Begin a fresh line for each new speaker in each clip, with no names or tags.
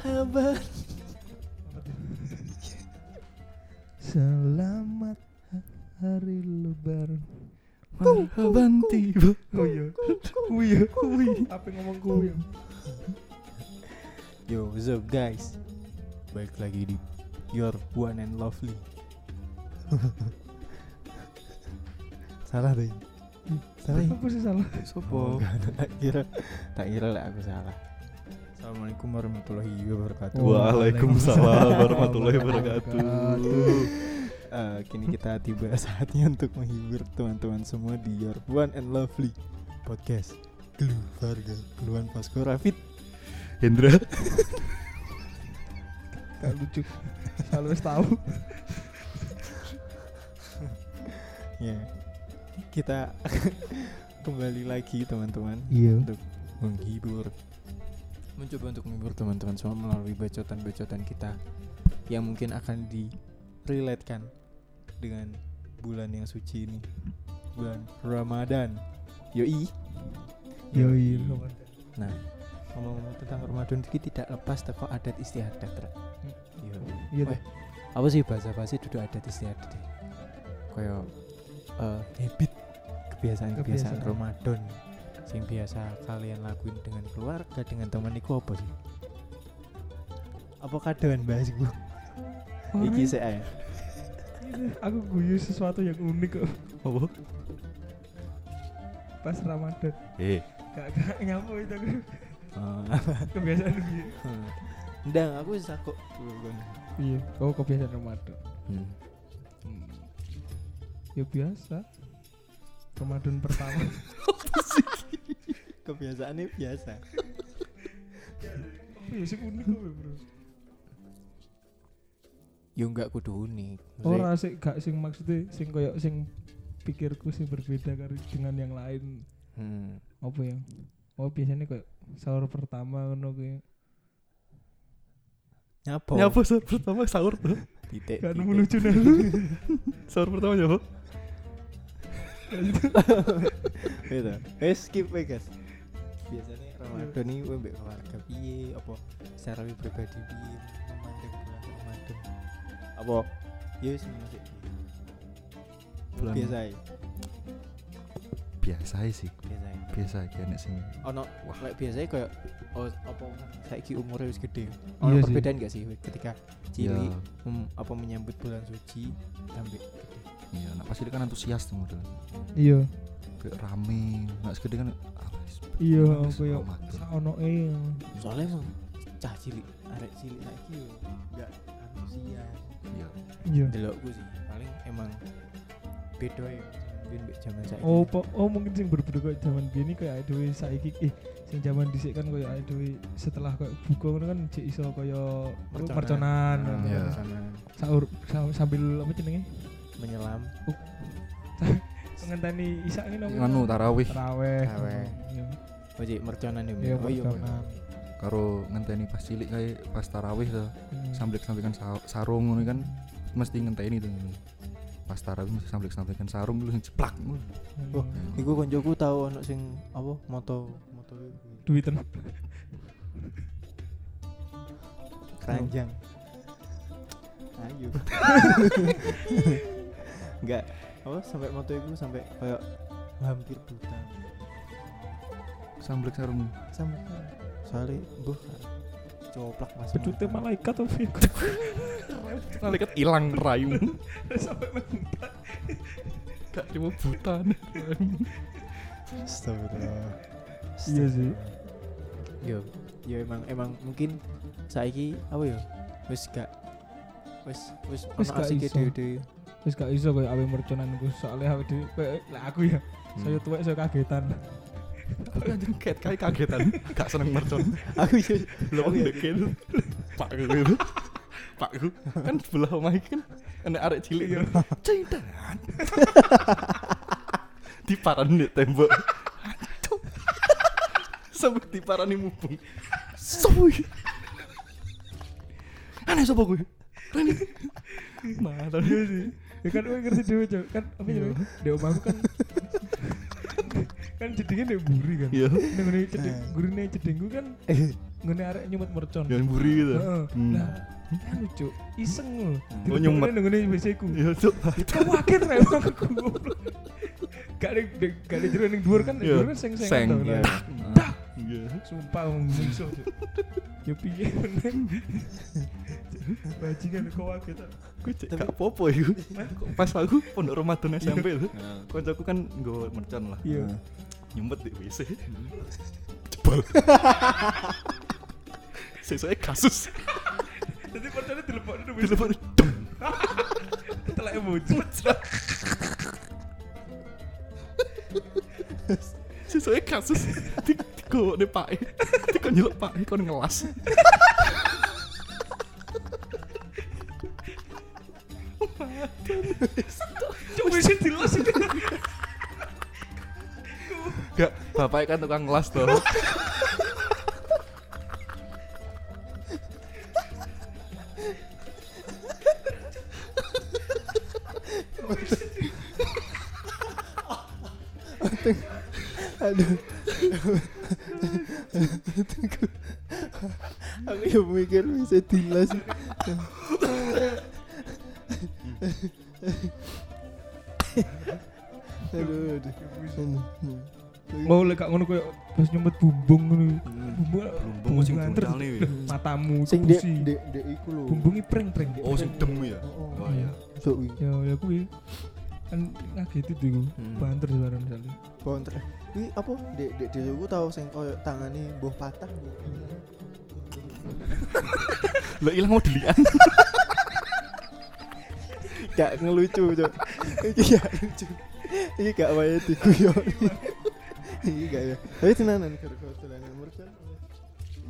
kabar? Selamat hari lebaran. Marhaban tiba. Oh iya. Oh iya. Oh iya.
Apa yang ngomong ya? gue?
Yo, what's up guys? Baik lagi di Your One and Lovely. Salah deh. Salah. ya?
Apa sih salah?
Sopo. tak kira tak kira lah aku salah. Assalamualaikum warahmatullahi wabarakatuh.
Wah. Waalaikumsalam
Waalaikumsalam warahmatullahi wabarakatuh.
Eh, kini kita tiba saatnya untuk menghibur teman-teman semua di Your One and Lovely Podcast. Keluarga keluhan Pasco Rafid.
Hendra,
Gak lucu. Selalu harus tahu.
Ya. Kita kembali lagi teman-teman
Iya.
menghibur mencoba untuk menghibur teman-teman semua melalui bacotan-bacotan kita yang mungkin akan di relatekan dengan bulan yang suci ini bulan Ramadan yoi
Yoi.
nah ngomong-ngomong tentang Ramadan itu tidak lepas teko adat istiadat Ra. Yoi.
Iya
Weh,
deh.
apa sih bahasa bahasa duduk adat istiadat ya? Kayak eh, habit kebiasaan-kebiasaan
Kebiasaan.
Ramadan sing biasa kalian lakuin dengan keluarga dengan teman iku apa sih? Apa kadoan bahas iku? Iki
Alright.
sik ae.
Aku guyu sesuatu yang unik kok
Apa?
pas Ramadan.
eh,
Gak gak nyapu itu aku. Ah. kebiasaan guyu.
Hmm. Ndang aku wis takut dulu
Iya. Oh kebiasaan Ramadan.
Hmm.
Ya biasa. Ramadan pertama.
Kebiasaannya biasa.
Iya sih unik kok bro.
Yo enggak kudu unik.
Ora sih gak sing maksudnya sing koyok sing pikirku sih berbeda karo dengan yang lain.
Hmm.
Apa ya? Oh biasanya kayak sahur pertama ngono kuwi.
Nyapo?
nyapa sahur pertama sahur tuh?
Titik.
Gak
titik.
nemu lucu nih lu.
Sahur pertama nyapa?
gitu wes skip aja guys biasanya Ramadan ini gue mbak keluarga piye apa secara lebih pribadi piye memandang bulan Ramadan apa ya wis ngono sih
Bulan-
biasa ae,
Biasa aja sih,
biasa ae.
biasa aja nek sini.
ono
Wah.
like biasanya kayak oh, apa saiki umurnya wis gede
Iya
ono
sih.
perbedaan gak sih Iya. ketika cilik
Ya,
mem- apa menyambut bulan suci sampai gede
Iya, nak pasti dia kan antusias tuh model.
Iya.
Kayak rame, nak segede kan. ah, wis,
Iya,
wis,
koyo
Ramadan.
Ono e.
soalnya emang cah cilik arek cilik saiki yo gak antusias
Iya.
Iya.
delokku sih paling emang beda ya mungkin mbek zaman saya
Oh, po- oh mungkin sing berbeda kok zaman biyen iki kayak dhewe saiki eh sing zaman dhisik kan koyo awake dhewe setelah koyo buka ngono kan jek iso koyo
Merconan.
merconan
Nah,
ngono.
Iya.
sana
sahur sa- sambil apa jenenge?
menyelam
Ngenteni isak ngono apa?
Nganu anu, tarawih
Taraweh.
Taraweh.
Iya.
oh jadi merconan ya
Iya,
Mbak? oh iya
merconan.
karo ngenteni pas cilik kayak pas tarawih tuh.
Hmm.
Samblek-samblekan sa- sarung ngono kan mesti ngenteni tuh. Pas tarawih mesti samblek-samblekan sarung dulu sing jeplak. ngono.
Hmm.
Oh.
Wah. iku konjoku tau ono sing apa moto moto
duitan.
keranjang ayo enggak apa sampai moto iku sampai kayak hampir buta
Samblek sarung.
sama soalnya buh coplak mas
Pedutnya
Mantan.
malaikat tapi
Malaikat hilang rayu.
sampai meningkat.
Gak cuma buta
Astagfirullah.
Iya sih.
Yo, yo emang emang mungkin saiki apa ya? Wis gak wis wis
Wis
ono
gak
asike
iso.
dhewe-dhewe.
Wis gak iso koyo awe merconan ku soalnya awake dhewe koyo lah aku ya.
Hmm.
Saya tuwek saya kagetan.
Tapi anjing kaget kayak kagetan, gak seneng mercon.
Aku yo
Lo ngekel. Pak gue itu. Pak gue kan sebelah omah iki kan enek arek cilik ya. Cinta. Diparani di tembok. Aduh. Sampai diparani mubung. Soy. Aneh sapa gue? Rene. Nah,
Iya sih. Ya kan gue ngerti dhewe, Cok. Kan apa
Iya.
ya? Di omahku kan kan jedingnya di buri kan.
Iya. Eh.
eh,
Ning ngene ceding gurine cedingku kan ngene arek nyumet mercon.
yang buri gitu
Heeh.
Hmm.
Nah, kan lucu, iseng lho.
Oh, nyumet.
ngene WC ku.
Iya, Cuk.
Kamu akhir rek aku goblok. Gak ada gak ada jero ning dhuwur kan,
Iya.
dhuwur kan seng-seng.
Seng,
tau,
iya.
nah.
Dah. Iya.
Sumpah wong mungsuh. Cuk. Ya piye meneng. Bajingan kok kaget. Cuk.
Ku cek gak popo iku. Kok Pas aku pondok Ramadan SMP lho.
Nah,
Kancaku kan nggo mercon lah.
Iya.
Nyumpet iya di WC. Jebol. Sesuai kasus.
Jadi merconnya dilepokne nang WC.
Telepon dem.
Teleke muncul.
Sesuai kasus. Tigo ne Pak. Tigo nyeluk Pak, kon ngelas.
Cuk WC dilos itu.
Gak, bapaknya kan tukang ngelas tuh.
aduh Aku- aku ya mikir bisa dilas aduh aduh aduh.
Mau lek gak ngono koyo pas nyumet bumbung ngono.
Hmm.
Bumbung
Bumbung sing
anter.
bruntale, weh.
Duh, Matamu
sing dek
pusi.
dek dek iku lho
Bumbungi prank-prank. Dek.
Oh, sing dem ya.
Oh,
Oh iya.
so wi
Ya ya kuwi. Kan ngageti tuh iku.
Hmm.
Banter sekarang misalnya.
bonter wi apa dek dek dheweku tau sing koyo tangane mbuh patah mbuh ilang.
Lah ilang mau dilian.
gak ngelucu cok iki gak lucu iki gak wae diguyon iki gak ya tapi tenanan gara-gara dolanan mercon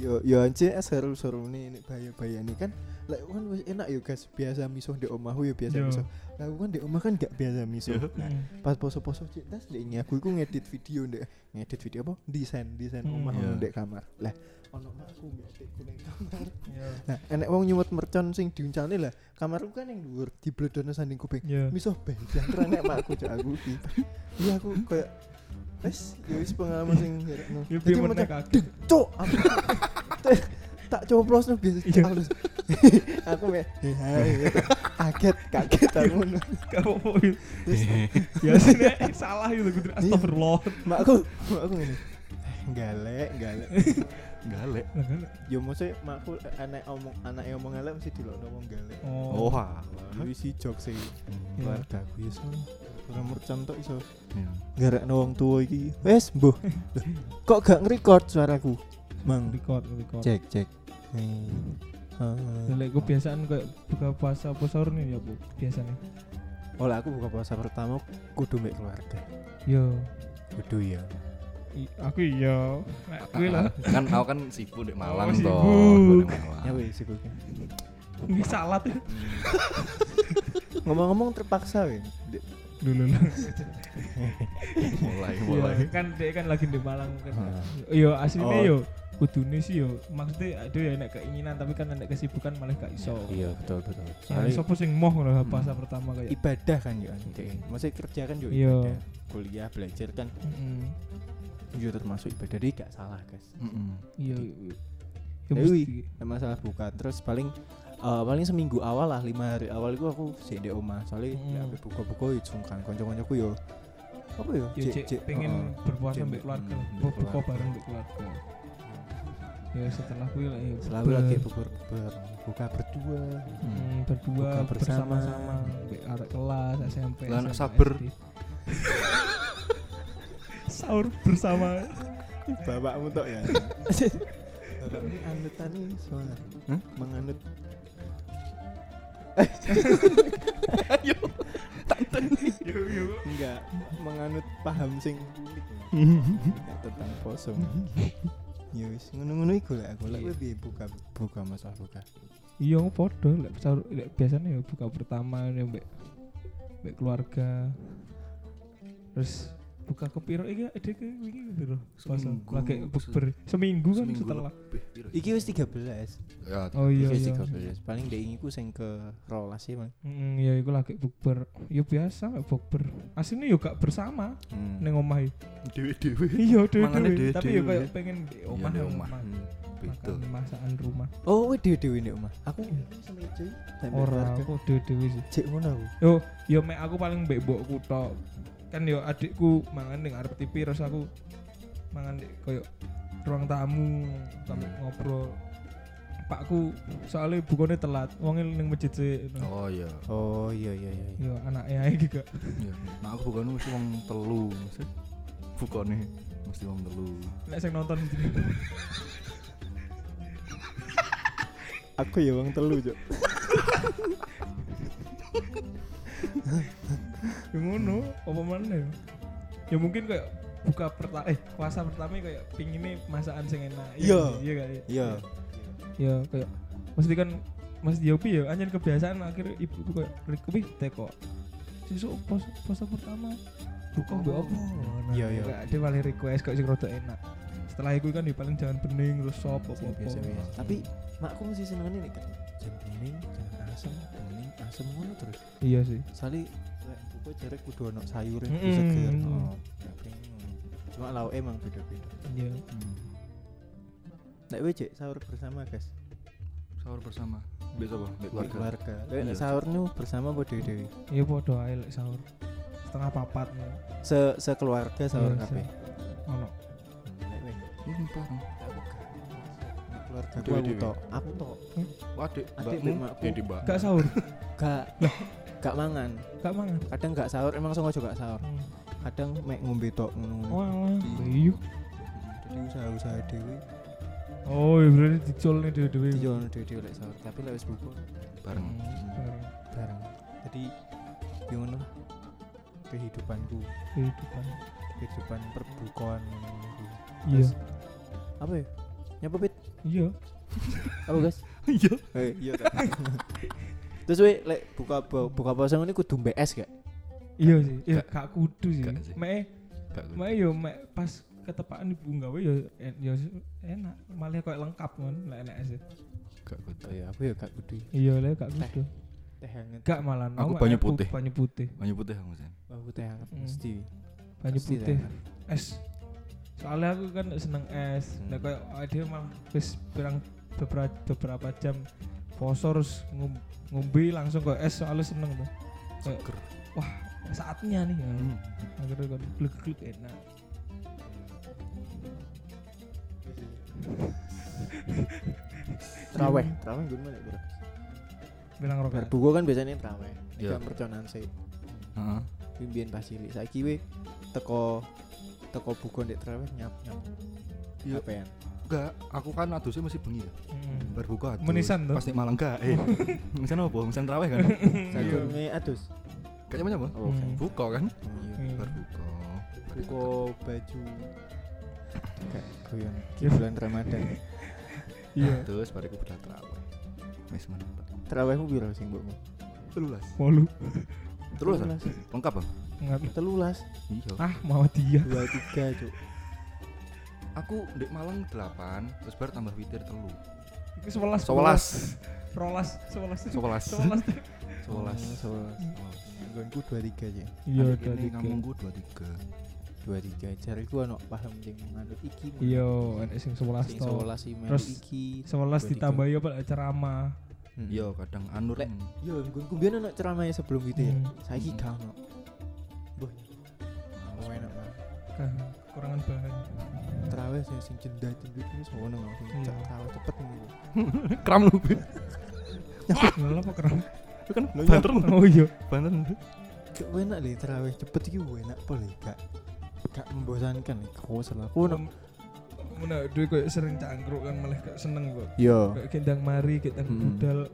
yo yo anjir es seru seru nih ini bahaya bahaya nih kan lah kan wis enak yo guys biasa misuh di omahku yo biasa
Yo.
misuh lah aku kan di omah kan gak biasa misuh nah
Hmm.
pas poso-poso cek tas ndek ini aku iku ngedit video ndek ngedit video apa desain desain
Hmm.
omah
Iya.
ndek kamar lah ono makku mbek adikku ning kamar
Ya.
nah enek wong nyuwet mercon sing diuncalne lah kamarku kan yang dhuwur dibledono sanding kuping
Ya.
miso bendang rene makku cok aku iki. Iya aku kayak wis ya wis pengalaman sing ngerekno.
Ya
Jadi
piye meneh
mereka,
kaget.
Cok, aku tak- tak coplos no biasa
Iya.
Aku terus, aku me "Hei, hai," gitu. kaget kaget aku ngono.
Gak apa-apa. ya.
Terus
Ya sih Nek. salah itu kudu astagfirullah.
makku makku ngene "Eh, galek galek
Galek.
Lah kan.
yo Ya, maksudnya makku anak omong anak omong galek mesti dilokno wong galek
Oh.
Oh, alah.
Yo isi jok sih
Ya.
keluarga aku iso ora mercon tok iso
Iya.
gara wong tua iki wes mbuh Loh, kok gak ngerecord suaraku mang
Record, record.
cek cek Nih. Ah.
Lek kebiasaan kayak buka puasa apa sahur nih ya, Bu? Biasanya.
oh lah aku buka puasa pertama kudu mbek keluarga
Yo.
kudu ya
I- aku iya Nah, kuwi lah
Kan aku kan sibuk di Malang
Oh,
toh.
sibuk.
Di Malang.
ya wes sibuk
ini salat ya
ngomong-ngomong terpaksa weh Dek,
dulu lah
Mulai mulai.
kan dia kan lagi di Malang kan
Heeh.
yo aslinya
Oh.
yo kudune sih yo maksudnya aduh ya nek keinginan tapi kan nek kesibukan malah gak iso
iya betul betul
Soalnya
Soalnya
sopo sing moh lah
Hmm.
puasa pertama kayak
ibadah kan ya maksudnya kerja kan juga
Iya.
ibadah kuliah belajar kan
Mm-mm.
juga termasuk ibadah jadi gak salah guys
Mm-mm.
iya yo
Dewi.
mesti
Nah, masalah buka terus paling eh, paling seminggu awal lah lima hari awal itu aku sih di omah soalnya
Mm.
ya habis buka-buka ya sungkan konco-koncoku yo apa ya? yo
yo cek Ya, pengen berpuasa mbek keluarga
mm, mbek
mau buka
keluarga.
bareng mbek keluarga yo setelah kuwi lah yo
selalu
ber-
lagi bubur bubur buka berdua
mm, berdua
Buka bersama.
bersama-sama mbek arek kelas SMP
Lah, anak
SMA,
sabar.
SD. sahur bersama
bapakmu tok ya ini anutan nih soalnya
Hah?
menganut
Ayo. Tanten.
enggak menganut paham sing unik Enggak tentang poso ya wis ngono-ngono iku lah aku lah
Iya.
kowe piye buka buka masalah buka
Iya, aku podo. Lek sahur, lek biasanya ya buka pertama ya mbek mbek keluarga. Terus buka kepiro iki ada ke wingi kepiro? Puasa.
Seminggu.
Lagi bukber. Seminggu kan
Seminggu
setelah.
lebih, piro.
iki wis 13
Ya,
Oh iya
Iya,
iya.
sih, paling dek ingiku sing ke rolas sih Bang.
Heeh, ya iku lagi bukber. Ya biasa lek bukber. Asline yo gak bersama
Hmm.
ning omah. ya.
dewe-dewe.
Iya, dhewe
Mangane dhewe-dhewe.
Tapi yo kayak pengen di omah.
Iya, di Hmm,
nang
omah.
omah.
Beda.
makan masakan rumah
Oh, wih dewi dewi nih omah. Aku
Iya.
sampai cuy. Sampai
ora
keluarga.
aku dewe-dewe sih
Cek ngono aku.
yo yo mek aku paling mbek mbokku tok kan yo adikku mangan ning arep TV terus aku mangan di koyo ruang tamu sampe
Hmm.
ngobrol pakku soalnya bukannya telat wongnya ning masjid sih
Oh iya.
Oh iya iya iya.
yo anaknya aja juga
Iya. Nah aku bukan mesti wong telu, mesti bukannya mesti wong telu.
nek sing nonton
Aku ya wong telu, Cuk.
ya ngono apa mana ya ya mungkin kayak buka pertama eh puasa pertama kayak pinginnya masakan sing enak
Iya.
iya kan ya
Iya.
ya kayak mesti kan Mas Yopi ya anjir kebiasaan akhirnya ibu ku kayak Riku wih teko sesuk pos puasa pertama buka mbak apa Nah,
Iya, iya.
kayak dia paling request kayak sing rada enak setelah itu kan dia paling jangan bening terus sop apa
Sing
apa
biasa-biasa. Tapi makku mesti senengane nek kan. Jangan kuning, jangan asem, kuning, asem ngono terus.
iya sih
Soale lek buku jarek kudu ono sayure
Mm-mm.
seger. Oh, gak bingung. Cuma lauk emang beda-beda.
iya
Nek wis Cek, sahur bersama, guys.
Sahur bersama. Besok apa? Mbek
Keluarga.
keluarga.
keluarga. Lek nek
Iya.
sahur nu bersama apa dewi-dewi?
iya podo ae lek sahur setengah papat ya
Se sekeluarga sahur
Iya,
kabeh.
sih. ono
Nek wis
Ini bareng.
nek keluarga
Dewi-
gua aku
dewi.
tok. Aku tok.
Wadik,
Adik,
Oh, mbakmu.
mbakku.
Ini mbak.
gak sahur
Gak gak mangan.
gak mangan
Kadang gak sahur, emang sengaja gak sahur.
Hmm.
Kadang mek ngombe tok ngono.
wah wah iya
Jadi usaha-usaha dewi
oh iya berarti dicol nih dhewe-dhewe
Iya.
dijual dewi-dewi lek sahur, tapi lek wis buku
Bareng.
Hmm,
bareng. Jadi gimana lah kehidupanku,
kehidupan
kehidupan perbukoan ngono iku.
iya
Terus, Apa ya? Nyapa pit?
iya
Apa guys?
Iya.
Eh, Hmm. iya tak. Terus we lek buka bu- buka puasa ngene kudu mbek es gak?
iya sih iya
Gak-
gak kudu sih
gak sih.
mek eh,
Gak
mek yo mek pas ketepaan ibu gawe yo ya, en- yo s- enak malah kayak lengkap kan lek enak sih
gak
Oh ya, aku ya gak kudu.
iya lek gak
Teh.
kudu
Teh hangat.
gak malah
Aku banyu putih.
banyu putih
Banyu putih Kang Husain.
Aku teh hangat
Hmm.
mesti.
banyu
Pasti teh
putih
hangat.
es soalnya aku kan seneng es
Hmm.
nah kayak awake dhewe malah wis pirang beberapa beberapa jam poso terus ngum- ngombe langsung kayak es soalnya seneng tuh Kayak,
Seger.
wah saatnya nih ya.
Hmm.
akhirnya kan gluk-gluk enak
Traweh, traweh gimana ya, Bro?
bilang
Bar
rokat
buku kan biasanya traweh.
Iya.
Iya. Merconan sih.
Heeh.
Pimpinan pas cilik. Saiki we teko teko buku ndek traweh nyap nyap.
Iya.
Apean.
Enggak, aku kan adusnya masih bengi ya.
Mm.
Baru buka adus.
Menisan tuh.
Pasti malang enggak. Eh. Menisan apa? Menisan terawih kan?
Sadurunge adus.
Kayaknya macam apa?
Iya. Oh,
Hmm.
Buka kan?
Iya.
Iya.
Baru buka.
Buku baju. Gak guyon. Di bulan Ramadan.
iya
Terus baru aku udah terawih. Wis mantap.
Trawehmu piro sing mbokmu?
Telulas.
molu
Terus ah? lengkap, Bang?
Ngat.
Telulas.
Iya.
ah mau dia
Dua tiga cuk.
Aku ndek Malang 8, terus bar tambah witir telu.
itu sebelas
Sewelas.
rolas sebelas
Sewelas. Oh.
sebelas
Sewelas.
Sebelas. Oh, Nggonku dua tiga aja.
iya
Adik ini
dari
Kampungku 23.
dua tiga jariku ono paham sing nganut iki men.
iya enak sing sebelas
sing
toh
sekolah sih melu
Terus-
iki
sebelas
Dua tiga.
ditambah ya pak ceramah
Hmm.
Iya, kadang anur.
Lek. yo Iya, nggonku biyen ono ceramahnya sebelum gitu ya
Hmm.
saiki
Hmm.
gak ono Mbah,
Males
oh enak
banget.
banget
Kah, kurangan Kan, bahan
terawih sing sing jenda jendut ini semua nang aku
Iya.
cak terawih cepet ngono
Kram lu, Bin.
Lha apa keren
Lu kan
Lu
banter lu.
oh iya
Banter lu.
cuk enak lho terawih cepet iki enak pol lho, gak gak membosankan lho kok salah aku ono
mana duit kayak sering cangkruk kan malah kayak seneng kok
yo
kayak gendang mari gendang
Mm-mm.
budal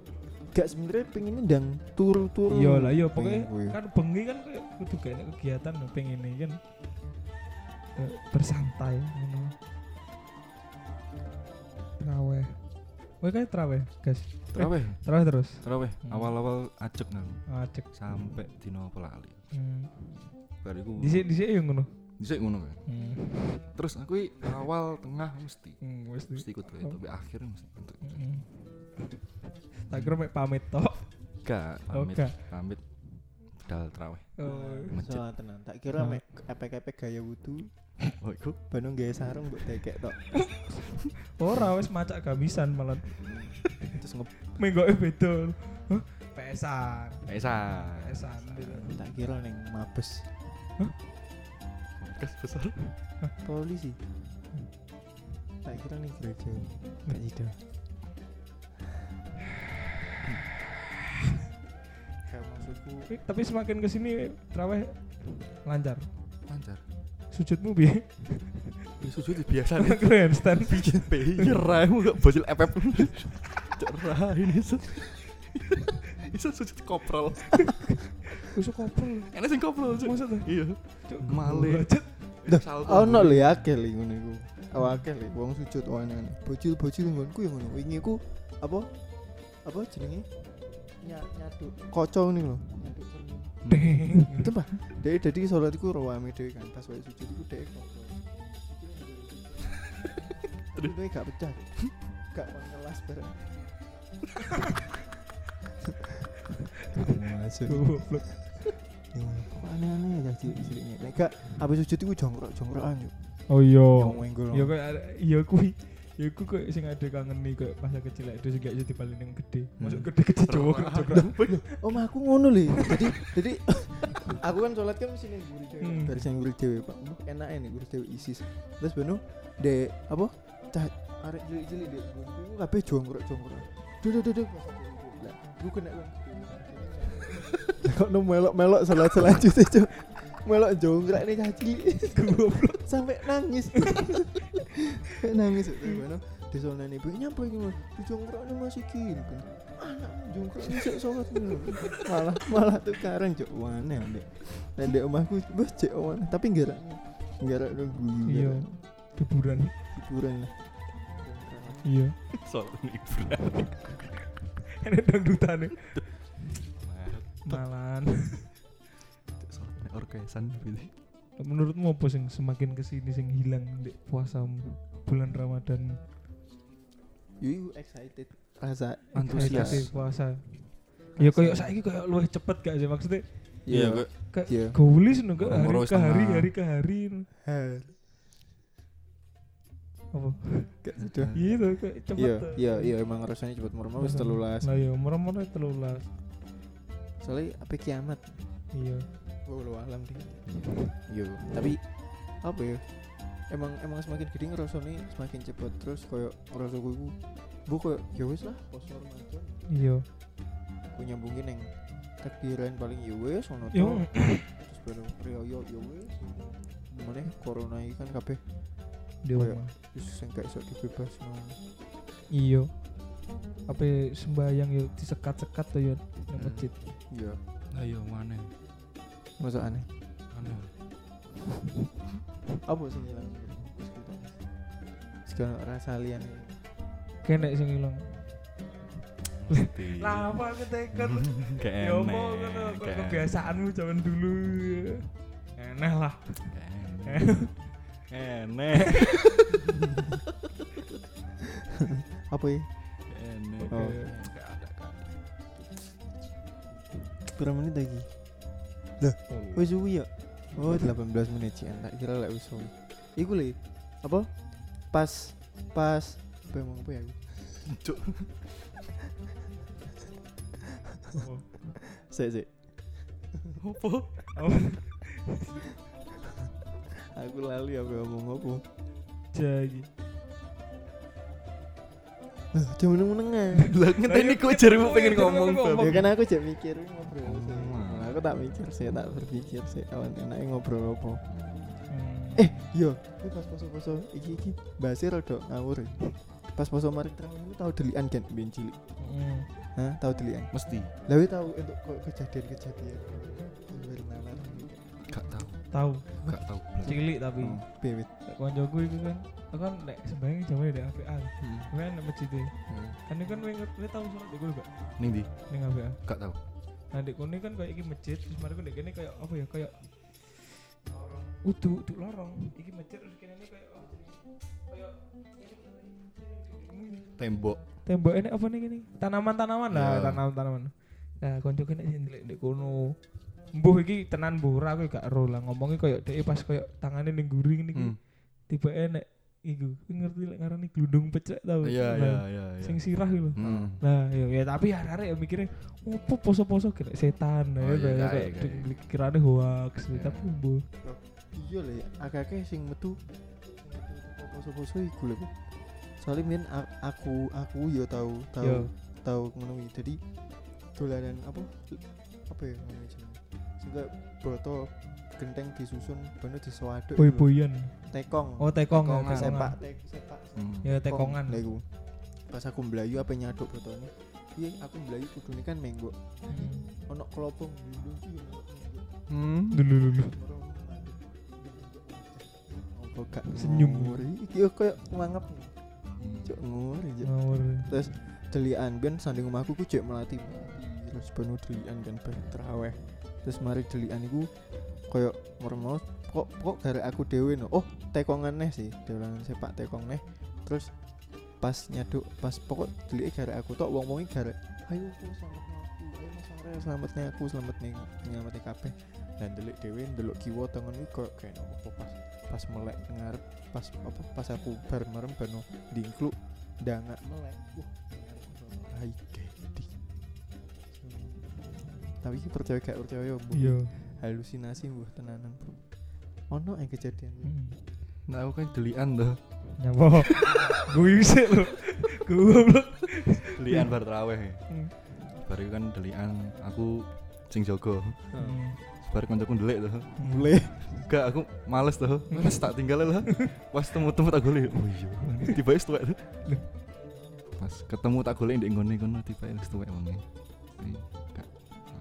gak sebenarnya pengen ndang turu-turu
iya lah iya
Pengen
pokoknya
kuwi.
kan bengi kan kayak kudu kayak enak kegiatan lho, pengen ini kan kayak bersantai ngono traweh Wah kayak traweh guys
Terawih.
traweh terus
Terawih.
Hmm.
Awal-awal ajek nang.
acek
Sampai dino apa lali.
hmm.
Bar iku.
di sini di sini yang ngono
Dhisik ngono kan.
hmm.
Terus aku i- awal tengah mesti.
Hmm, wes di-
Mesti ikut wae, tapi akhir mesti. untuk-
Mm-mm. tak kira mek pamit tok
Gak pamit.
Oke.
Pamit. modal terawih
Oh,
masjid
Soal tenan. Tak kira
Nah.
mek epek-epek gaya wudu,
oh iku
Bandung gaya sarung mbok tekek tok.
ora wis macak gabisan malah
Terus nge
menggoke beda. Hah? Pesan,
Esa
pesan.
tak kira neng mabes
kas besar
polisi. Tak kira neng gereja. Gak gitu. Kayak maksudku
Tapi- Tapi semakin ke sini traweh lancar.
lancar
Sujudmu piye?
ya sujud biasa nih
Keren stand.
piye raimu gak bocil epep cok rai ini Iso Iso sujud koprol
Wis koper.
enak sing koprol Cuk.
Maksud
iya
Cuk,
Male.
budget.
Salto
Oh no
dulu.
lho ya akeh lho ngono iku. Oh akeh lho wong sujud oh enak Bocil-bocil nggonku ya ngono. Wingi ku apa? Apa jenenge? Nya- Nyaduk. Kocong nih lho. Nyaduk cermin.
Deng.
Itu bah. Dek dadi salat iku rawame dhewe kan pas wae sujud iku dek kocong. Terus dhewe gak pecah. Gak mengelas bareng. Masuk.
Goblok.
Kok aneh-aneh ya cilik-ciliknya. Nek gak habis sujud iku jongkrok-jongkrokan yo.
Oh iya.
Yang menggol.
Ya kok ya kuwi. Ya ku kok sing ada kangeni kok pas aku kecil itu sing gak jadi paling yang gede. Masuk gede-gede cowok.
Nah,
cowok.
Om aku ngono lho. Jadi jadi aku kan sholat kan mesti ning guri dhewe.
Hmm.
Baris ning guri dhewe, Pak. Mbok enake ning guri dhewe isis. Terus beno de apa? Cah arek cilik-cilik dek guri iku kabeh jongkrok-jongkrok. Duh duh duh duh. pas aku iku. Lah, iku kena kan. Lah, Kok no melok-melok salat selanjutnya, Cuk. Melok jongkrok nih cah cilik. Goblok sampai nangis. Sampai nangis Cuk. terus beno disonani ibu nyapa iki Mas? kan. Dijongkrok nih masih gini. Jungkruk cek sholat dulu. malah malah tukaran cok wane ambek Nah, ndek omahku bos cek wane tapi nggak nggak nunggu
Iya.
nggak
Hiburan.
hiburan lah
Iya.
Salto Ibra
Ini dangdutane.
Maret,
Malan.
Salto nek orkesan gitu
Menurutmu apa sing semakin kesini sing hilang di puasa bulan Ramadan?
you excited rasa Iya,
Antusias.
Ekspektasi puasa. Ya koyo saiki koyo luwih cepet gak sih maksudnya?
iya
Kayak
Iya.
gaulis no ke hari
Moro-moro
ke hari
setengah.
hari ke hari. no. Apa?
gak sudah
Iya to kayak cepet.
iya
to.
iya iya emang rasanya cepet merem wis telulas
Lah ya moro-moro telulas.
soalnya apa kiamat
Iya.
walau alam deh yo tapi apa ya emang emang semakin gede ngerasanya semakin cepet terus koyo ngerasa gue bu koyo ya wis lah pos Ramadan
Iya.
aku nyambungin yang takdiran paling ya wis ono
Yo.
to terus baru riyo ya wis mulai corona ini kan kabeh
Di
Koyo-
rumah.
wis sing gak iso dibebas no
Iya. Apa ya, sembahyang yo disekat-sekat to yo nang
Hmm.
masjid.
iya
ayo mana
masa aneh
mana
apa sih ngilang Wis ketok. segala rasa lian
Kene sing ilang.
Mesti.
Lama aku tekan.
Gak
Ya apa
enek,
ngono, kok
gak
kebiasaanmu zaman dulu. ya. Enak lah.
enek, gak enek
apa ya
Gak enek
Oh.
Gak ada, gak ada.
berapa menit lagi wis suwi ya oh 18 menit sih tak kira lek wis suwi iku le apa pas pas apa emang apa ya aku
Cuk.
Apa?
sik sik
Apa?
Apa?
aku lali aku ngomong apa
Jadi.
Lah, jangan meneng-menengan
Lah ngenteni kok jarimu
Ayo,
pengen
jarimu
ngomong
ngomong.
ya
babi.
kan aku cek mikir ngobrol
Oh.
sih. Nah, aku tak mikir sih tak berpikir sih awan enaknya ngobrol apa
Eh,
eh yo ini pas poso poso iki iki bahasnya rada ngawur ya. pas poso maring terang ini tahu delian kan ben cilik
Hmm.
Hah, tahu delian
Mesti
lawe tahu untuk ke- kejadian-kejadian luar nalar
gak tahu,
tahu
gak tahu.
cilik tapi
Oh, bewet
konjoku itu kan aku kan nek sembahyang jamaah di APA. Kan nek masjid e. Kan ini kan kowe inget kowe tahu salat iku gak
Ning ndi?
ning APA.
Gak tahu.
Nah di kono kan kayak iki masjid terus mari ndek kene kayak apa ya kayak Udu, udu lorong. Iki masjid terus kene ini kayak apa jenenge? Kayak
Tembok.
tembok ini apa nih gini tanaman-tanaman lah
Ya.
tanaman-tanaman nah konco kena sih di kono mbuh iki tenan mbuh ora aku gak ero lah ngomongi koyo dhek pas koyo tangane ning guri ngene iki
Hmm.
tiba enek iku Kowe ngerti lek ngarani glundung pecek tau
Oh, Iya
Nah,
iya iya. iya.
sing sirah gitu
Hmm.
Nah, ya, ya tapi hari-hari ya mikirnya, opo poso-poso kira setan ya,
Oh, iya,
kayak-
kayak-
kayak
kayak.
di- kirane hoax,
Iya.
tapi bu,
iya lah ya akeh sing metu poso-poso iku lho soalnya mien a- aku aku ya yo tahu
Yo.
tahu tahu ngono iki. jadi dolanan apa apa ya namanya jenenge sehingga broto genteng disusun bener disewaduk iku lho.
boy-boyan.
tekong
Oh, tekong, ya,
Tekongan.
tekongan.
sepak tek- sepak
Hmm.
Ya tekongan.
lah iku pas aku mblayu apa nyaduk brotone iya aku mblayu kudune kan menggo ono kelopong dulu iki yo ono menggo.
Hmm.
Dulu dulu.
Apa gak
Senyum.
nguri? Iki yo koyo mangap. Cuk nguri. Cuk.
Ngawur.
Terus delian ben sanding omahku ku jek melati. Terus penuh delian kan ben traweh. Terus mari delian iku koyo ngurmo kok kok gara aku dhewe no. Oh, tekongan neh sih, dolangan sepak tekong neh. Terus pas nyaduk pas pokok delike gara aku tok wong-wonge gara ayo aku selamatnya aku ayo mas Arel selamatnya aku selamatnya selamatnya kabeh dan delik dewe ndelok kiwa tangan iki kok kayak apa pas pas melek ngarep pas apa pas aku bar merem bano dingkluk ndangak melek wah rai gede tapi iki percaya gak percaya ya, Bu.
Iya.
halusinasi mbuh tenanan bro ono yang kejadian Bu.
Hmm.
Nah aku kan delian tuh.
Nyapa? Gue sih lo. Gue
Delian bar traweh.
Hmm.
Bar iku kan delian aku sing jaga. Hmm. Bar kancaku ndelik tuh.
mulai
Enggak, aku males tuh. Males tak tinggal lah. Pas temu-temu tak golek. Oh iya. Tiba wis tuwek.
Loh.
Pas ketemu tak golek ndek ngene kono tiba wis e. tuwek wonge. Enggak.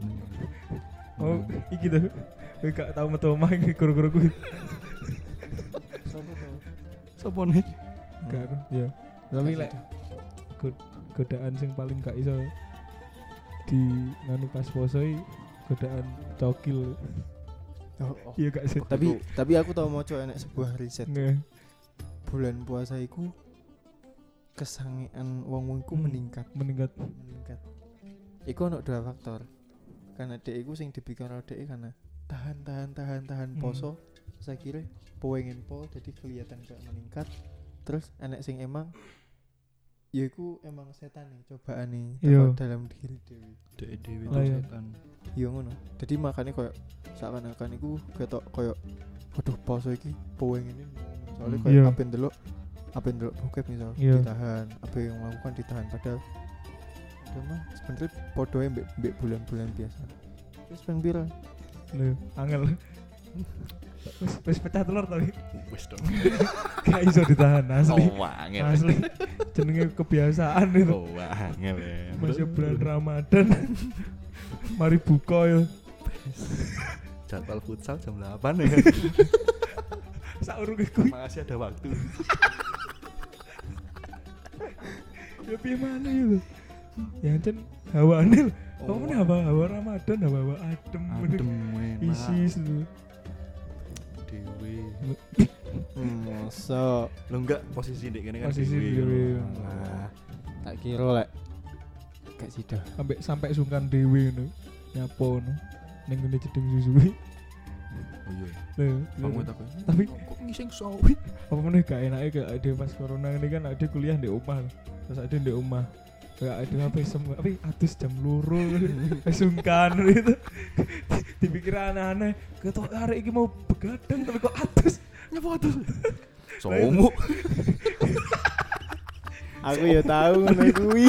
ya.
Oh, iki tuh. Gue gak tau metu omah iki kuru-kuru gue.
Sopo tau?
Sopo nih?
Gak. Ya. Tapi lek godaan sing paling gak iso di nganu pas poso iki, godaan cokil.
Oh, oh.
Iya gak sih?
tapi tapi aku tau mau coba enek sebuah riset
Nggak.
bulan puasa iku kesangean wong wongku
Hmm.
meningkat
meningkat.
meningkat iku ono dua faktor karena dek iku sing dibikin oleh dek karena tahan tahan tahan tahan
Hmm.
poso saya kira pengen po jadi kelihatan gak meningkat terus anak sing emang ya iku emang setan nih cobaan nih
Iya.
teko dalam diri dewi
Dek dhewe
Lah, iya.
setan.
iya ngono jadi makanya koyo seakan-akan iku ketok koyo waduh poso iki pengen ini soalnya
Hmm.
koyo
Iya.
apa delok apa delok bokep misal
Iya.
ditahan apa yang melakukan ditahan padahal udah mah sebenernya podoe mbek mbek bulan-bulan biasa terus pengen pira
Lho, angel. Wis wis pecah telur tapi
Wis dong.
gak iso ditahan asli.
Oh, angel.
Asli. Jenenge kebiasaan itu.
Oh, angel. ya.
Masih bulan Ramadan. Mari buka ya.
jadwal futsal jam 8 ya.
Saurunge kuwi
Masih ada waktu.
ya piye mana itu. Ya ancen hawane lho. Kok meneh hawa-hawa Ramadan, hawa-hawa adem.
Oh. Adem men.
Isi lho.
dhewe.
so
Lo enggak posisi ndek kene kan
Posisi
dhewe.
dhewe.
Wah.
tak kira lek gak sida
Sampai sampai sungkan dewi ngono. Nyapa ngono. Ning ngene jeding susuwi.
Oh iya.
Lho.
Bangun aku.
Tapi
kok ngising sawi?
apa meneh gak enaknya kayak ada pas corona ini kan ada kuliah di rumah loh. terus ada di rumah gak ada apa semua tapi atus jam loro sungkan gitu dipikir aneh-aneh ketok arek iki mau begadang tapi kok atus
Nyapa tuh?
iya.
Somo.
aku ya tahu ngono kuwi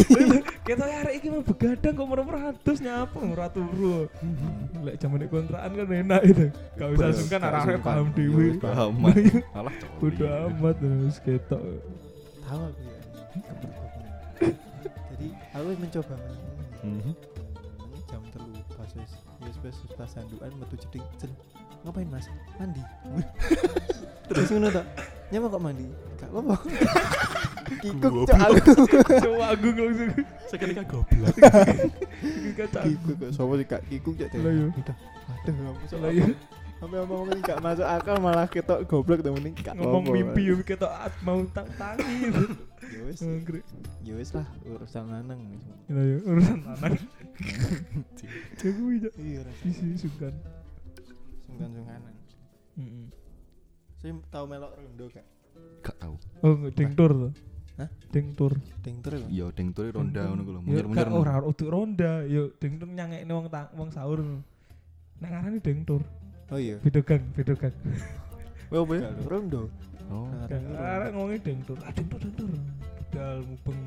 ketok arek iki mau begadang kok merem atus nyapa ora turu lek jaman di kontrakan kan enak itu gak usah
Bener,
sungkan
gak
arek
sungkan.
paham
Iya,
dewi
betul.
Paham. Alah coli.
udah amat terus ketok
tahu aku ya jadi aku mencoba menang
Mhm.
jam telu pas wis wis wis wis pas sanduan metu jeding jen ngapain mas mandi terus ngono tak nyapa kok mandi gak apa-apa kikuk cok aku
coba aku langsung
Sekali kan goblok.
kacau
kikuk kok sopo sih gak kikuk cok
Lah, iya.
udah aduh aku
Lah,
salah
iya.
Sampai ngomong ini gak masuk akal malah ketok goblok temen ini gak
ngomong
apa-apa.
mimpi yo ketok at- mau tak tangi
Ya wis,
Anggrek.
ya wis lah urusan lanang.
Gila ya urusan anak. Jago aja
Iya,
isi sungkan.
sungkan-sungkanan.
Mm-mm.
Saya tahu melok rondo gak?
Gak tau
Oh, nggak, ding tour tuh.
Hah?
Ding tour.
Ding ter lho.
Iya deng tuh ronda ngono kuwi lho,
Ya,
munyer-munyer.
gak, Ora untuk ronda, yo ding tour nyangekne wong ta- wong sahur. Nang aran ding tour.
Oh iya.
Beda gang, beda gang.
Wah, apa ya? Rondo.
Oh.
Ngarang rondo.
Arek ngomongnya ding tour. Ah, ding tour, ding tour. Dal mubeng.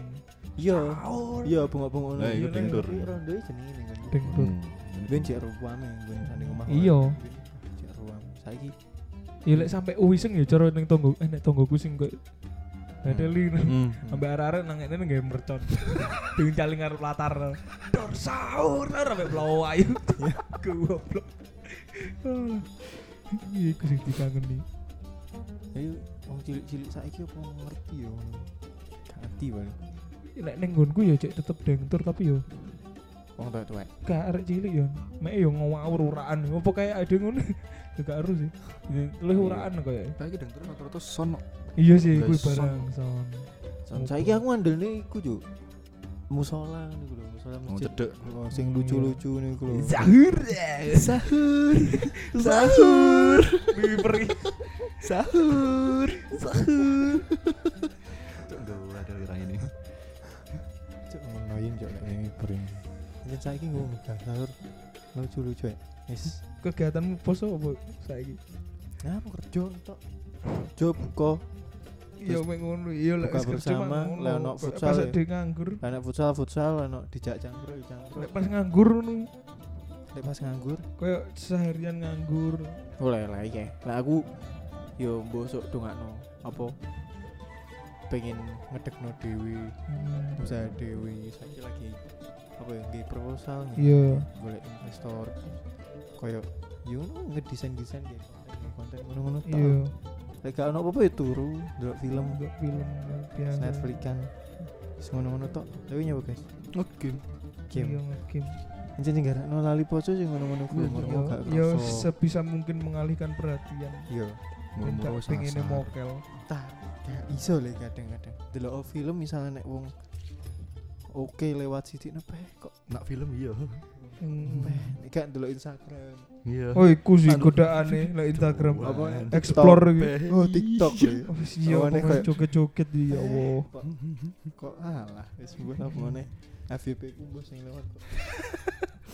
Iya.
Sahur.
Iya, bengok-bengok.
Lah,
iya, ding
tur.
Rondo jenenge ning kan.
Ding tour.
Hmm.
Ben cek ruwame, ben sanding omah.
Iya.
Ben gitu. Cek ruwam. Saiki
Ya lek sampe uwiseng ya cara ning tonggo, eh nek tonggoku sing kok Nadeli
Hmm.
Ambe arek-arek nang ngene nggawe mercon. Ding caling ngarep latar. Dor sahur lar ambek blowo ayu. Goblok. Ah, Iku sing dikangeni.
ayo wong cilik-cilik saiki apa ngerti ya ngono. Gak ngerti paling.
Nek ning nggonku ya cek tetep dengtur tapi yo
Wong tuwek-tuwek.
gak arek cilik yo. Mek yo ngawur uraan. Apa kayak ada ngono? Ya Gak harus sih. Luwih uraan kaya.
Saiki deng tuh rata-rata sono.
Iya sih kuwi
Lah, son.
barang son.
Son saiki aku ngandelne iku, Cuk. Musola niku lho, musola
Wong
masjid.
cedek.
Oh, sing lucu-lucu niku lho.
Sahur.
Sahur. Sahur.
Bibi pergi.
Sahur. Sahur.
Duh, ada lirang ini.
Cuk ngonoin cuk nek
Eh,
ngene bering. Yen saiki nggo megah sahur. Lucu-lucu ya. Wis.
Kegiatanmu poso apa saiki?
Ngapa kerja tok? Job kok
Iya
Terus
mek ngono. Iya lek
buka
wis kerja
bersama,
mah ngono.
lek ono
Pas-
futsal
Pas
ya.
ade nganggur.
anak futsal futsal anak dijak cangkruk ya cangkruk
Lek pas nganggur ngono.
lek pas nganggur
Kayak seharian nganggur.
oleh lah ya lah aku yo mbosok dongakno apa pengen ngedekno dewi
Hmm.
usaha dewi saiki lagi apa ya nggih proposal nggih.
Iya.
golek investor koyo yo ngono ngedesain desain ya konten ngono ngono
Iya.
tau lek gak ono apa-apa ya turu ndelok film
Untuk film biasa.
Netflix kan ngono ngono tok tapi nyoba guys
Nge-game.
game
Iya, nge-game.
Anjing sing gak ono lali poso sing ngono-ngono kuwi
Iya,
umurmu
Iya,
gak
Iya,
kerasa.
sebisa mungkin mengalihkan perhatian.
Iya.
Tidak
Murmur
pengen
sasar.
mokel.
tak gak iso le kadang-kadang delok film misalnya nek wong oke lewat sidik nepeh kok
Nak film iya.
Hmm.
nepeh Nek gak delok Instagram
Iya.
Oh, iku sih
Aduh.
godaane lek Instagram.
Wah.
apa
Explore
TikTok.
gitu.
Beh.
oh TikTok le.
Oh, iya,
Awane
pokoknya
kayak-
joget-joget ya Allah.
kok kok alah wis mbuh apa meneh FYP ku mbuh sing lewat kok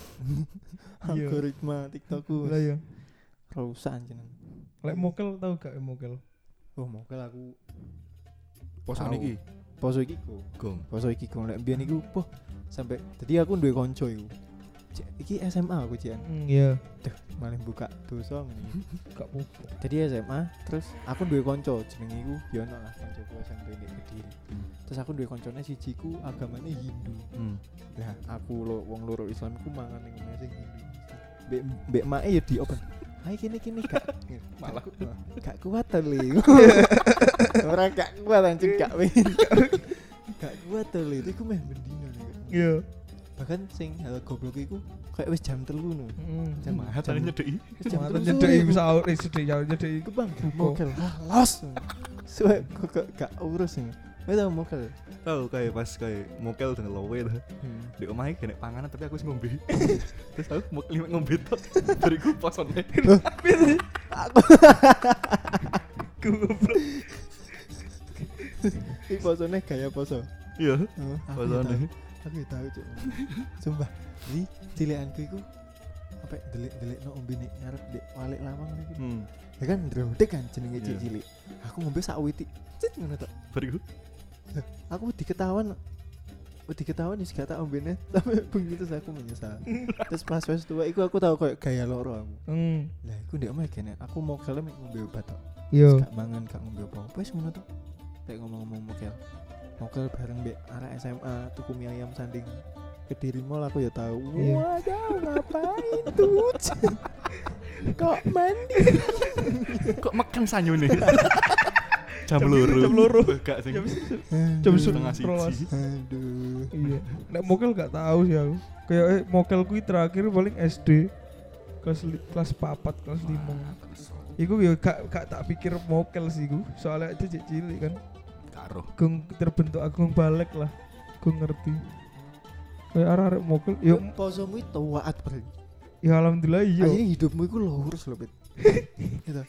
Iya.
algoritma TikTok ku
Lah ya.
rusak anjenan
Lek mokel tau gak mokel?
oh mokel aku
Poso
Tahu.
niki.
poso iki ku
Gong.
poso iki ku lek mbiyen iku poh sampai jadi aku duwe kanca iku Cek, iki SMA aku cian
Hmm, iya.
malah buka dosa ngene
Gak apa-apa.
Hmm, jadi SMA terus aku duwe konco jenenge iku Yono lah koncoku SMP di Kediri
Hmm.
terus aku duwe koncone siji ku agamane Hindu
Hmm.
nah aku lo wong loro Islam ku mangan ning omahe sing Hindu mbek mbek mae ya diopen Hai kini kini kak
Malah.
gak kuat to li orang gak kuat anjing gak pengen gak kuat to li iku meh mendino nih, Kak.
Iya.
bahkan sing hal goblok iku kayak wis jam telu no
Heeh.
jam
Mahat
jam-
tadi Hmm. nyedeki.
wis jam
Jam
telu
Hmm, nyedeki
sore iku.
sahur, eh sedek sahur nyedeki.
Iku bang, mokel los. Suwe kok gak- gak urus ini. Wis tau mokel.
Tahu kayak pas kayak mokel dengan lowe lah.
Hmm.
Di omahe kena panganan tapi aku sih ngombe. Terus aku mau kelima ngombe tok. Bariku posone.
Goblok.
Iki posone gaya poso.
Iya.
Heeh.
Posone.
Aku ya tau cuk. Sumpah. Jadi cilikanku iku apa delik-delik no ombe nek ngarep dek walik lawang niku.
Hmm.
Ya kan ndrodek kan jenenge
Iya.
cilik-cilik. Aku ngombe sak witik. Cet ngono tok.
Bariku.
Aku diketahuan Wedi ketahuan wis gak tak ombene tapi bengi terus aku menyesal. terus pas wis tua iku aku tau koyo gaya loro aku.
Hmm.
Lah iku ndek omah gene aku mau kelem ngombe obat tok.
Yo.
gak mangan gak ngombe apa-apa wis ngono to lek ngomong-ngomong mokel mokel bareng mbek arek SMA tuku mie ayam sanding Kediri Mall aku ya tahu
Iya.
wadah ngapain tuh kok mandi
Kok makan sanyune? Jam loro.
jam loro.
Gak sing.
Jam
Aduh,
jam
Setengah
Rolas.
siji.
aduh
Iya. Nek mokel gak tahu sih aku. Kayak eh, mokel kuwi terakhir paling SD. kelas li- kelas papat kelas lima iku yo gak gak tak pikir mokel sih iku soalnya itu cek cilik kan
Karo.
gung terbentuk aku balik lah gung ngerti kayak arah-arah mokel yo
posomu itu waat bro
ya alhamdulillah iya
Akhirnya hidupmu itu lurus loh, Pit. gitu.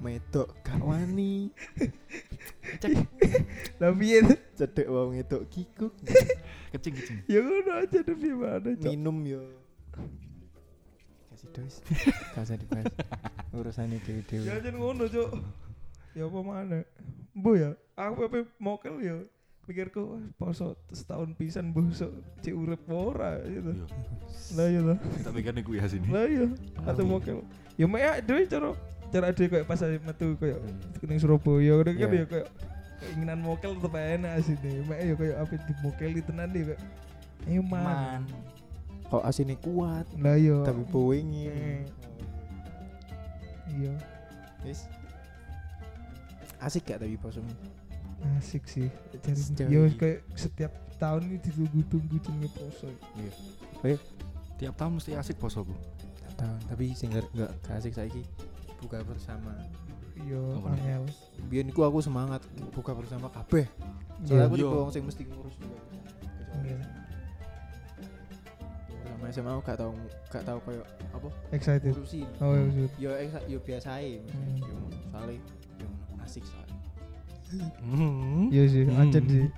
Metok gak wani,
lah piye tuh?
cedek wong itu kikuk,
Kecing kecing.
ya ngono aja deh gimana cok
minum yo. Kasih dos. Gak usah dibahas. Urusan itu
ya
dewe.
aja ngono cok ya apa mana bu ya aku apa mokel ya pikirku wah, poso setahun pisan busuk cek urip ora gitu
Yo,
Iya.
lah ya lah
tak pikir nih kuy sini.
lah ya atau mokel ya mek dhewe cara cara dhewe kayak pas aja metu kayak ning Surabaya udah kan
Iya.
ya kayak keinginan mokel tetep enak sini mek ya kayak apa di mokeli tenan deh kayak ayo man
Man. Kok asine kuat,
lah ya
tapi bowengi.
Hmm. iya
Wis. Asik gak tapi Iya, posomu?
asik sih
Sejauh
cari yo
ini.
kayak setiap tahun ini ditunggu-tunggu jenenge poso
Tiap tahun mesti asik poso bu.
Gak tahu, tapi sing gak gak gak asik saiki buka bersama.
yo ah, ya,
Apa nih?
angel
Biar niku aku semangat buka bersama kabeh. Soalnya
Iya.
aku tipe
Iya.
wong sing mesti ngurus juga.
Iya.
Sama SMA aku gak tau gak tau koyo apa
excited
ngurusin.
oh ya maksud
Yo exa- yo biasae.
Hmm.
Yo soalnya yo asik soalnya.
iya sih
Hmm.
aja sih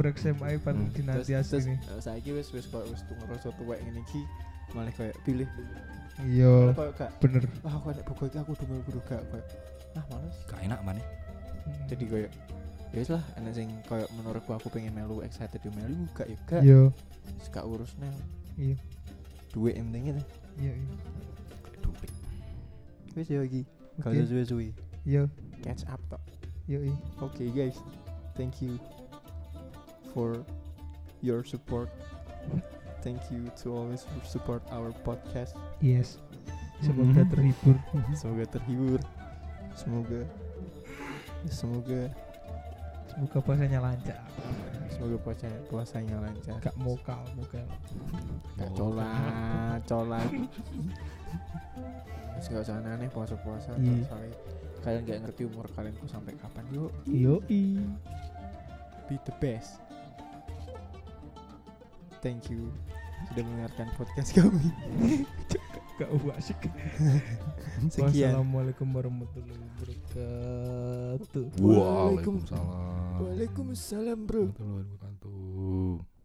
break SMA paling
Hmm.
dinanti asik nih
eh, saiki wis wis koyo wis tuh ngerasa tuwek ngene iki malah koyo pilih.
iya
Koyo gak
bener
wah aku nek buku iki aku udah melu gak koyo ah males.
Gak enak ya. mana?
Hmm.
Jadi koyo ya wis lah ana sing koyo menurutku aku pengen melu excited yo melu gak yo gak.
iya
Wis Gak urus nang
iya
duit yang penting itu.
iya iya
Duit.
Wis yo iki. Gak
Oke.
usah suwe-suwe.
iya
Catch up tok.
iya iya
Okay, guys, thank you for your support. Thank you to always support our podcast.
yes
Hmm.
semoga
Mhm.
terhibur
Semoga terhibur. Semoga semoga
semoga puasanya lancar
semoga puasanya, puasanya lancar.
gak mokal mokal
Oh.
Gak cola, cola. Terus gak usah aneh puasa-puasa.
Iya.
Sorry. Kalian gak ngerti umur kalian ku sampai kapan. Yuk,
iyo i
be the best. Thank you sudah mendengarkan podcast kami.
gak wasik
Sekian.
Wassalamualaikum warahmatullahi wabarakatuh
Waalaikumsalam.
Waalaikumsalam, bro.
Warahmatullahi wabarakatuh.